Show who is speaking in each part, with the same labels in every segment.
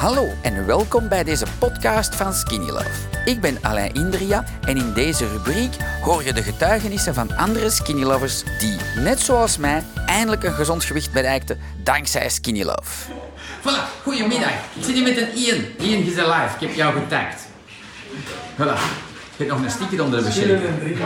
Speaker 1: Hallo en welkom bij deze podcast van Skinny Love. Ik ben Alain Indria en in deze rubriek hoor je de getuigenissen van andere Skinny Lovers die, net zoals mij, eindelijk een gezond gewicht bereikten dankzij Skinny Love.
Speaker 2: Voilà, goedemiddag. Ik zit hier met een Ian. Ian, je bent live. Ik heb jou getagd. Voilà. Je hebt nog een sticker onder de bescherming.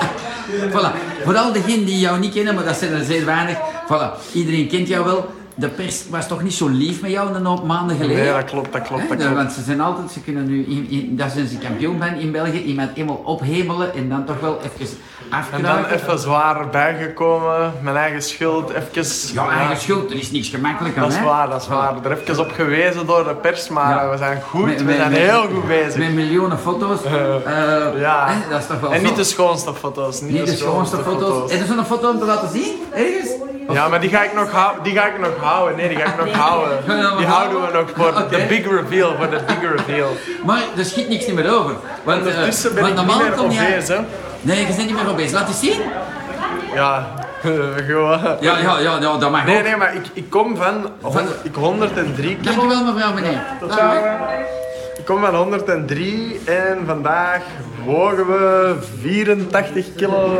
Speaker 2: voilà. Vooral degenen die jou niet kennen, maar dat zijn er zeer weinig. Voilà. Iedereen kent jou wel. De pers was toch niet zo lief met jou een hoop maanden geleden?
Speaker 3: Nee, dat klopt, dat klopt,
Speaker 2: Hè?
Speaker 3: dat klopt.
Speaker 2: Want ze zijn altijd, ze kunnen nu, in, in- dat zijn ze kampioen ben in België, iemand eenmaal ophemelen en dan toch wel even
Speaker 3: En dan
Speaker 2: afkruipen.
Speaker 3: even zwaar bijgekomen, mijn eigen schuld, even...
Speaker 2: Jouw eigen schuld, er is niks gemakkelijker
Speaker 3: Dat is
Speaker 2: hè?
Speaker 3: waar, dat is waar. Er even op gewezen door de pers, maar
Speaker 2: Ja.
Speaker 3: eh, we zijn goed,
Speaker 2: Met-
Speaker 3: we
Speaker 2: met-
Speaker 3: zijn
Speaker 2: met-
Speaker 3: heel goed bezig.
Speaker 2: Met miljoenen foto's. Eh,
Speaker 3: ja.
Speaker 2: hè, dat is toch wel
Speaker 3: en
Speaker 2: zo.
Speaker 3: niet de schoonste foto's, niet,
Speaker 2: Niet de schoonste foto's. En er is nog een foto om te laten zien, ergens.
Speaker 3: Ja, maar die ga, ik nog hou- die ga ik nog houden. Nee, die ga ik nog houden.
Speaker 2: Gaan we nog
Speaker 3: Die houden we nog voor
Speaker 2: Oké.
Speaker 3: de big reveal, voor de big reveal.
Speaker 2: Maar er schiet niks meer over. Want, eh,
Speaker 3: Ondertussen ben
Speaker 2: want
Speaker 3: ik niet
Speaker 2: normaal
Speaker 3: meer
Speaker 2: kom jij-
Speaker 3: obese, hè.
Speaker 2: Nee, je bent niet meer obese. Laat eens zien.
Speaker 3: Ja, gewoon...
Speaker 2: Ja, ja, ja, ja dat mag
Speaker 3: Nee,
Speaker 2: ook.
Speaker 3: nee, maar ik, ik kom van... honderd- Ik 103 kilo.
Speaker 2: Dankjewel mevrouw, meneer.
Speaker 3: Tot
Speaker 2: Dag,
Speaker 3: ziens.
Speaker 2: hoor.
Speaker 3: Ik kom van 103 en vandaag wogen we 84 kilo.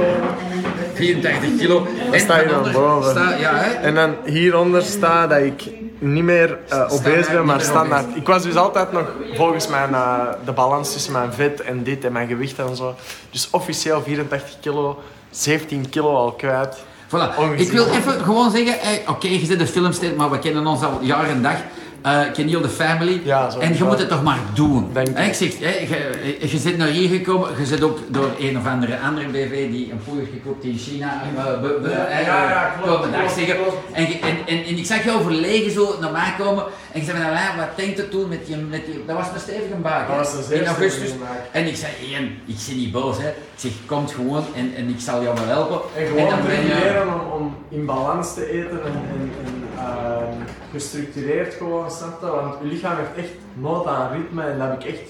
Speaker 2: 84 kilo. En
Speaker 3: sta je dan
Speaker 2: daaronder
Speaker 3: boven.
Speaker 2: sta- ja, hè.
Speaker 3: En dan hieronder staat dat ik niet meer eh obese ben, maar standaard. Ik was dus altijd nog volgens mijn, eh, de balans tussen mijn vet en dit en mijn gewicht en zo. Dus officieel 84 kilo, 17 kilo al kwijt.
Speaker 2: Voilà.
Speaker 3: Ongezien.
Speaker 2: Ik wil even gewoon zeggen, eh, oké, je zit een filmster, maar we kennen ons al jaar en dag. Eh ken heel de family.
Speaker 3: Ja, zo
Speaker 2: en je
Speaker 3: wel.
Speaker 2: moet het toch maar doen.
Speaker 3: Denk
Speaker 2: Hè,
Speaker 3: ik.
Speaker 2: ik zeg, hè, je, eh, je zit naar hier gekomen, je zit ook door een of andere andere BV die een poeier gekoopt in China. eh, be- be- eh,
Speaker 3: ja, ja, klopt,
Speaker 2: komen dag
Speaker 3: klopt,
Speaker 2: zeggen. En, je- en, en, en ik zag jou verlegen zo naar mij komen. En ik zei van, "Alain, wat denkt het toen met je, met je... Dat was een stevige baak, hè,
Speaker 3: Dat was een zeer
Speaker 2: In augustus.
Speaker 3: stevige baak.
Speaker 2: En ik zei, Ian, ik zit niet boos, hè. Ik zeg, kom gewoon en, en ik zal jou wel helpen. dan ben je-
Speaker 3: om, in balans te eten en, ehm, gestructureerd gewoon, snap Want je lichaam heeft echt nood aan ritme en dat heb ik echt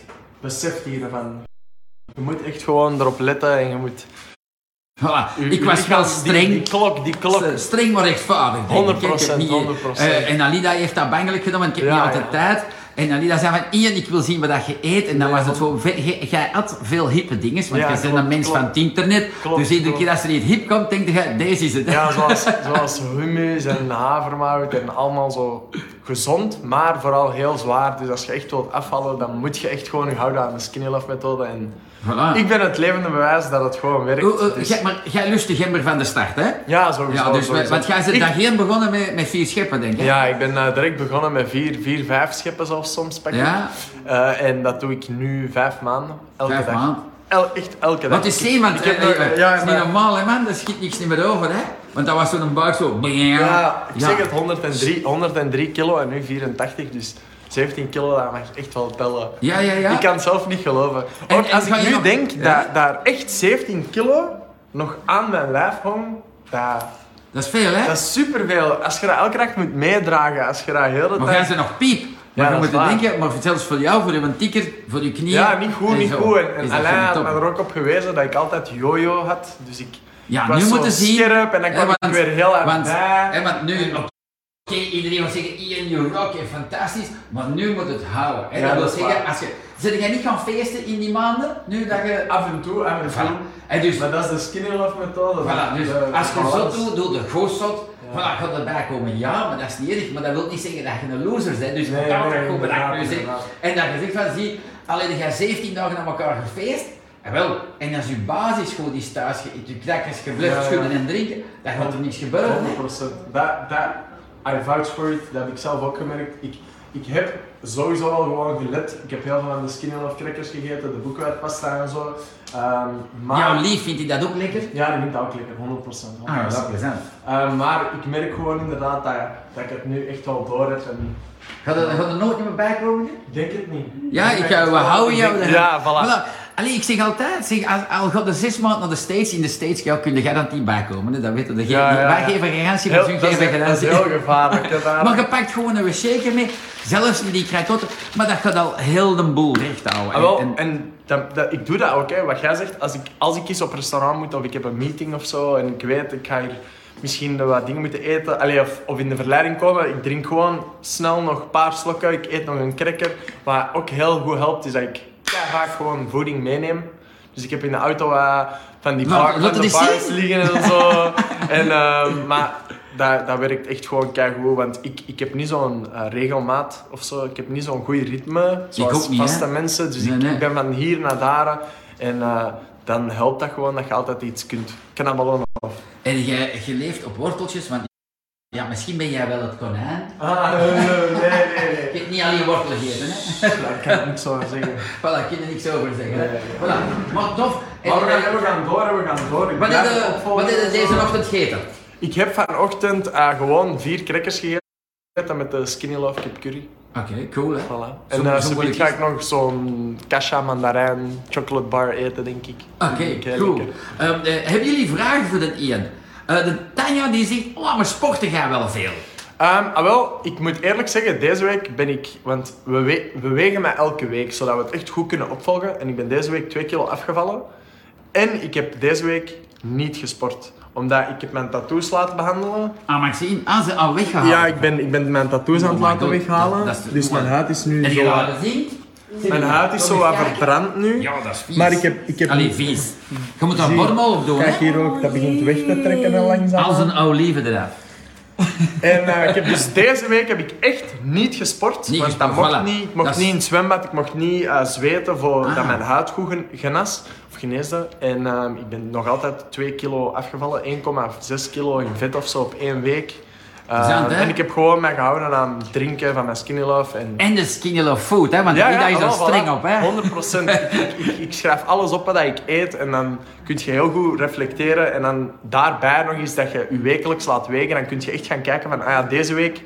Speaker 3: beseft hiervan. Je moet echt gewoon erop letten en je moet...
Speaker 2: Voilà,
Speaker 3: je-
Speaker 2: ik
Speaker 3: je
Speaker 2: was
Speaker 3: lichaam-
Speaker 2: wel
Speaker 3: die-
Speaker 2: streng.
Speaker 3: Die, klok, die klok.
Speaker 2: S- Streng maar rechtvaardig. denk ik.
Speaker 3: 100%,
Speaker 2: Ik heb niet-
Speaker 3: 100%.
Speaker 2: eh, en Alida heeft dat bangelijk genomen, want ik heb
Speaker 3: Ja,
Speaker 2: niet altijd
Speaker 3: ja.
Speaker 2: tijd. En Alida zei van, Ian, ik wil zien wat dat je eet. En dan was het zo, ve- jij- jij had veel hippe dingen, want
Speaker 3: Ja,
Speaker 2: je bent
Speaker 3: klopt,
Speaker 2: een mens
Speaker 3: klopt.
Speaker 2: van het internet.
Speaker 3: Klopt,
Speaker 2: dus iedere
Speaker 3: klopt.
Speaker 2: keer als er iets hip komt, denk je, deze is het.
Speaker 3: Ja, zoals, zoals hummus en havermout en allemaal zo gezond, maar vooral heel zwaar. Dus als je echt wilt afvallen, dan moet je echt gewoon je houden aan de skinny love methode. En
Speaker 2: Voilà.
Speaker 3: ik ben het levende bewijs dat het gewoon werkt.
Speaker 2: Oh, oh,
Speaker 3: Dus-
Speaker 2: jij- maar jij lust de gember van de start, hè?
Speaker 3: ja, sowieso.
Speaker 2: Ja, dus, we-
Speaker 3: sowieso.
Speaker 2: want jij bent
Speaker 3: Ik-
Speaker 2: daarheen begonnen met, met vier scheppen, denk ik.
Speaker 3: Ja, ik ben eh, direct begonnen met vier, vier vijf scheppen zelfs soms pak ik.
Speaker 2: Ja.
Speaker 3: Eh, en dat doe ik nu vijf maanden. Elke
Speaker 2: Vijf
Speaker 3: dag.
Speaker 2: maanden.
Speaker 3: El- echt elke dag.
Speaker 2: Wat is zee, want
Speaker 3: Ik heb
Speaker 2: eh,
Speaker 3: nog-
Speaker 2: eh,
Speaker 3: ja,
Speaker 2: het is niet
Speaker 3: maar-
Speaker 2: normaal, hè, man. Daar schiet niks niet meer over, hè. Want dat was zo'n buik zo...
Speaker 3: Ja, ik
Speaker 2: Ja.
Speaker 3: zeg het, 103, 103 kilo en nu 84, dus 17 kilo, dat mag echt wel tellen.
Speaker 2: Ja, ja, ja.
Speaker 3: Ik kan het zelf niet geloven.
Speaker 2: En-
Speaker 3: Ook
Speaker 2: en
Speaker 3: als
Speaker 2: ga
Speaker 3: ik
Speaker 2: je
Speaker 3: nu
Speaker 2: nog-
Speaker 3: denk
Speaker 2: Ja.
Speaker 3: dat daar echt 17 kilo nog aan mijn lijf hangt, dat,
Speaker 2: Dat is veel, hè?
Speaker 3: dat is superveel. Als je dat elke dag moet meedragen, als je dat heel de
Speaker 2: Maar gaan
Speaker 3: tijd...
Speaker 2: ze nog piep?
Speaker 3: Ja,
Speaker 2: Maar je
Speaker 3: dat
Speaker 2: moet
Speaker 3: is waar.
Speaker 2: denken, maar zelfs voor jou, voor je tikker, voor je knieën.
Speaker 3: Ja, niet goed,
Speaker 2: en
Speaker 3: niet
Speaker 2: zo.
Speaker 3: goed. En,
Speaker 2: Is
Speaker 3: en
Speaker 2: dat
Speaker 3: Alain
Speaker 2: geen
Speaker 3: had
Speaker 2: top?
Speaker 3: me er ook op gewezen dat ik altijd jojo had, dus ik...
Speaker 2: Ja,
Speaker 3: ik was
Speaker 2: nu
Speaker 3: zo
Speaker 2: moeten zien.
Speaker 3: scherp en dan
Speaker 2: hè,
Speaker 3: kwam ik weer heel hard
Speaker 2: want,
Speaker 3: bij.
Speaker 2: hè, want nu, oké, iedereen wil zeggen, Ian, you rock, je fantastisch, maar nu moet het houden. Hè?
Speaker 3: Ja,
Speaker 2: dat wil
Speaker 3: dat is
Speaker 2: zeggen,
Speaker 3: waar.
Speaker 2: als je, zit jij niet gaan feesten in die maanden, nu dat je...
Speaker 3: Af en toe, af en toe.
Speaker 2: Voilà. En dus,
Speaker 3: Maar dat is de skinny love methode.
Speaker 2: Voilà, dus
Speaker 3: Eh,
Speaker 2: als je zot
Speaker 3: alles.
Speaker 2: doet, doe de goos zot. Voilà, gaat erbij komen, ja, maar dat is niet erg. Maar dat wil niet zeggen dat je een loser bent. Dus je
Speaker 3: Nee,
Speaker 2: moet altijd
Speaker 3: nee,
Speaker 2: goed bedankt
Speaker 3: inderdaad,
Speaker 2: zeggen.
Speaker 3: inderdaad.
Speaker 2: En dat je zegt van, zie, alleen je 17 dagen aan elkaar gefeest. En wel, en als je basis goed is thuis, je eet je krakjes, je blijft
Speaker 3: Ja, ja.
Speaker 2: schudden en drinken, dan gaat er niets gebeuren.
Speaker 3: 100%. Dat, dat, I vouch for it, dat heb ik zelf ook gemerkt. Ik, ik heb sowieso al gewoon gelet. Ik heb heel veel van de skinny love crackers gegeten, de boekwijdpasta en zo. Ehm, maar...
Speaker 2: Jouw lief vindt hij dat ook lekker?
Speaker 3: Ja, die vindt dat ook lekker, 100%. 100%.
Speaker 2: Ah, ja, dat is plezant.
Speaker 3: Ehm, maar ik merk gewoon inderdaad dat, dat ik het nu echt wel door heb. En
Speaker 2: Gaat er, gaat er nooit meer bij komen?
Speaker 3: ik denk het niet.
Speaker 2: Ja, ik,
Speaker 3: denk
Speaker 2: eh,
Speaker 3: het
Speaker 2: we
Speaker 3: wel.
Speaker 2: houden
Speaker 3: Ik
Speaker 2: jou
Speaker 3: denk-
Speaker 2: eraan.
Speaker 3: Ja, voilà.
Speaker 2: Allee, ik zeg altijd, zeg, als, al gaat er zes maanden naar de States, in de States jou kun je garantie bijkomen. Hè? Dat weten de
Speaker 3: Ja, ja,
Speaker 2: Wij
Speaker 3: ja.
Speaker 2: geven garantie, maar
Speaker 3: Heel-
Speaker 2: hun
Speaker 3: dat is-
Speaker 2: geven
Speaker 3: dat is
Speaker 2: garantie.
Speaker 3: heel gevaarlijk. hè, daar.
Speaker 2: Maar je pakt gewoon een shaker mee, zelfs in die krakotten. Maar dat gaat al heel de boel recht houden.
Speaker 3: Ah, wel,
Speaker 2: En-
Speaker 3: en,
Speaker 2: en-
Speaker 3: dat, dat, ik doe dat ook, hè. wat jij zegt. Als ik, als ik eens op restaurant moet of ik heb een meeting of zo en ik weet, ik ga hier misschien wat dingen moeten eten. Allee, of, of in de verleiding komen. Ik drink gewoon snel nog een paar slokken. Ik eet nog een cracker. Wat ook heel goed helpt, is dat ik vaak gewoon voeding meeneem. Dus ik heb in de auto wat van die,
Speaker 2: Nou,
Speaker 3: bar,
Speaker 2: laat
Speaker 3: van de
Speaker 2: het eens
Speaker 3: bars
Speaker 2: zien.
Speaker 3: liggen en zo. en, ehm, maar dat, dat werkt echt gewoon keigoed. Want ik, ik heb niet zo'n eh, regelmaat of zo. Ik heb niet zo'n goed ritme. Zoals
Speaker 2: ook niet, hè.
Speaker 3: vaste mensen. Dus
Speaker 2: Nee,
Speaker 3: ik,
Speaker 2: nee.
Speaker 3: ik ben van hier naar daar. En eh, dan helpt dat gewoon dat je altijd iets kunt knabbelen.
Speaker 2: En jij, je leeft op worteltjes, want ja, misschien ben jij wel het konijn.
Speaker 3: Ah, nee, nee, nee.
Speaker 2: Ik heb niet alleen wortelen gegeten, hè.
Speaker 3: Dat kan ik niet zo zeggen.
Speaker 2: voilà, ik kan er niks over zeggen. hè.
Speaker 3: Nee, nee.
Speaker 2: Voilà, maar tof. En- eh,
Speaker 3: Maar we gaan, we gaan door, en we gaan door. Ik
Speaker 2: Wat
Speaker 3: blijf
Speaker 2: heb je-
Speaker 3: opvolgen.
Speaker 2: wat heb je deze ochtend gegeten?
Speaker 3: Ik heb vanochtend eh, gewoon vier crackers gegeten met de Skinny Love Kip Curry.
Speaker 2: Oké, cool hè.
Speaker 3: Voilà.
Speaker 2: Zo-
Speaker 3: En eh
Speaker 2: zo moeilijk
Speaker 3: zometeen ga ik nog zo'n kasha mandarijn chocolate bar eten, denk ik.
Speaker 2: Oké,
Speaker 3: Denk ik heel
Speaker 2: cool.
Speaker 3: lekker.
Speaker 2: Ehm, eh, hebben jullie vragen voor de Ian? Eh, de Tanja die zegt, oh, maar sporten gaan wel veel.
Speaker 3: Ehm, ah, wel, ik moet eerlijk zeggen, deze week ben ik... Want we, we, we wegen mij elke week, zodat we het echt goed kunnen opvolgen. En ik ben deze week 2 kilo afgevallen. En ik heb deze week niet gesport. Omdat ik heb mijn tattoos laten behandelen.
Speaker 2: Ah, Maxine, ah, ze al weggehaald.
Speaker 3: Ja, ik ben, ik ben mijn tattoos aan
Speaker 2: Oh
Speaker 3: het
Speaker 2: my
Speaker 3: laten
Speaker 2: God,
Speaker 3: weghalen.
Speaker 2: dat- dat is-
Speaker 3: dus mijn huid is nu
Speaker 2: En
Speaker 3: zo...
Speaker 2: je gaat het zien?
Speaker 3: Mijn huid is zo wat verbrand nu.
Speaker 2: Ja, dat is vies.
Speaker 3: Maar ik heb- ik heb-
Speaker 2: Allee, vies. Je moet daar
Speaker 3: Zie,
Speaker 2: bormel op doen,
Speaker 3: Kijk
Speaker 2: hè.
Speaker 3: hier ook, dat begint weg te trekken en langzaam.
Speaker 2: Als een olive eraf.
Speaker 3: En eh, ik heb dus deze week heb ik echt niet gesport.
Speaker 2: Niet
Speaker 3: want dat
Speaker 2: gesport,
Speaker 3: mocht
Speaker 2: voilà.
Speaker 3: niet. Ik mocht
Speaker 2: Dat is-
Speaker 3: niet in het zwembad, ik mocht niet eh, zweten voordat
Speaker 2: Ah.
Speaker 3: mijn huid goed gen- genas of geneesde. En ehm, ik ben nog altijd 2 kilo afgevallen, 1,6 kilo in vet of zo op één week. Ehm,
Speaker 2: Is dat, hè?
Speaker 3: en ik heb gewoon mij gehouden aan het drinken van mijn skinny love. En...
Speaker 2: En de skinny love food, hè? want daar is er
Speaker 3: allemaal,
Speaker 2: streng
Speaker 3: voilà.
Speaker 2: op. Hè?
Speaker 3: 100 Ik, ik, ik schrijf alles op wat ik eet en dan kun je heel goed reflecteren. En dan daarbij nog eens dat je je wekelijks laat wegen. Dan kun je echt gaan kijken van, ah ja, deze week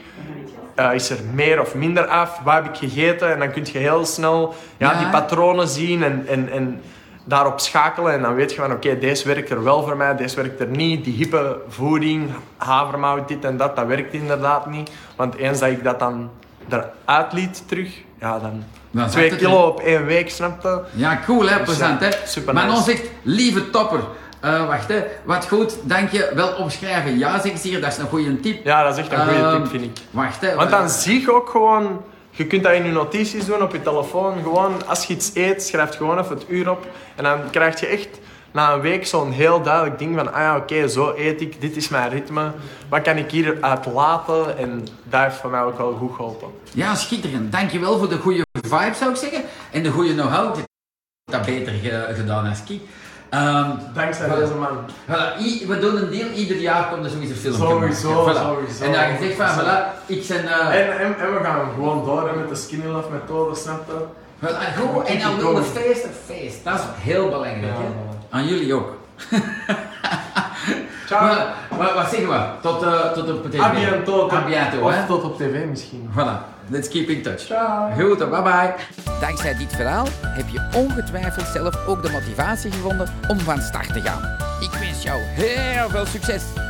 Speaker 3: eh, is er meer of minder af. Wat heb ik gegeten? En dan kun je heel snel ja,
Speaker 2: Ja.
Speaker 3: die patronen zien en... en, en Daarop schakelen en dan weet je van oké, deze werkt er wel voor mij, deze werkt er niet. Die hippe voeding, havermout, dit en dat, dat werkt inderdaad niet. Want eens dat ik dat dan eruit liet terug, ja dan
Speaker 2: Dan zakt
Speaker 3: Twee
Speaker 2: het,
Speaker 3: kilo op één week, snap je?
Speaker 2: Ja, cool hè,
Speaker 3: Dus,
Speaker 2: plezant hè.
Speaker 3: ja, super
Speaker 2: Manon
Speaker 3: nice.
Speaker 2: zegt, lieve topper. Eh, wacht hè, wat goed, dank je. Wel opschrijven. Ja, zegt ze hier, dat is een goede tip.
Speaker 3: Ja, dat is echt een goede
Speaker 2: Ehm,
Speaker 3: tip, vind ik.
Speaker 2: Wacht hè.
Speaker 3: Eh,
Speaker 2: Eh,
Speaker 3: Want dan zie je ook gewoon... Je kunt dat in je notities doen op je telefoon. Gewoon, als je iets eet, schrijf gewoon even het uur op. En dan krijg je echt na een week zo'n heel duidelijk ding van... Ah ja, oké, zo eet ik. Dit is mijn ritme. Wat kan ik hieruit laten? En dat heeft voor mij ook wel goed geholpen.
Speaker 2: Ja, schitterend. Dank je wel voor de goede vibe, zou ik zeggen. En de goede know-how. Ik heb Dat beter ge- gedaan als ik. Ehm,
Speaker 3: Dankzij
Speaker 2: Voilà.
Speaker 3: deze man.
Speaker 2: Voilà, i- we doen een deal, ieder jaar komt er sowieso een film.
Speaker 3: Sowieso,
Speaker 2: gemaakt. Voilà.
Speaker 3: sowieso.
Speaker 2: En dan gezegd van, voilà, ik ben... eh,
Speaker 3: En, en, en we gaan gewoon door hè, met de skinny love methode, snap je?
Speaker 2: Wel, en goed, en dan wilde feest een feest. Dat is heel belangrijk. hè.
Speaker 3: Ja.
Speaker 2: Aan jullie ook.
Speaker 3: Ciao.
Speaker 2: Maar, maar wat zeggen we? Tot, eh tot op de tv.
Speaker 3: A bientôt.
Speaker 2: A bientôt, hè.
Speaker 3: Of tot op tv misschien.
Speaker 2: Voilà. Let's keep in touch.
Speaker 3: Ciao.
Speaker 2: Goed, bye bye.
Speaker 1: Dankzij dit verhaal heb je ongetwijfeld zelf ook de motivatie gevonden om van start te gaan. Ik wens jou heel veel succes!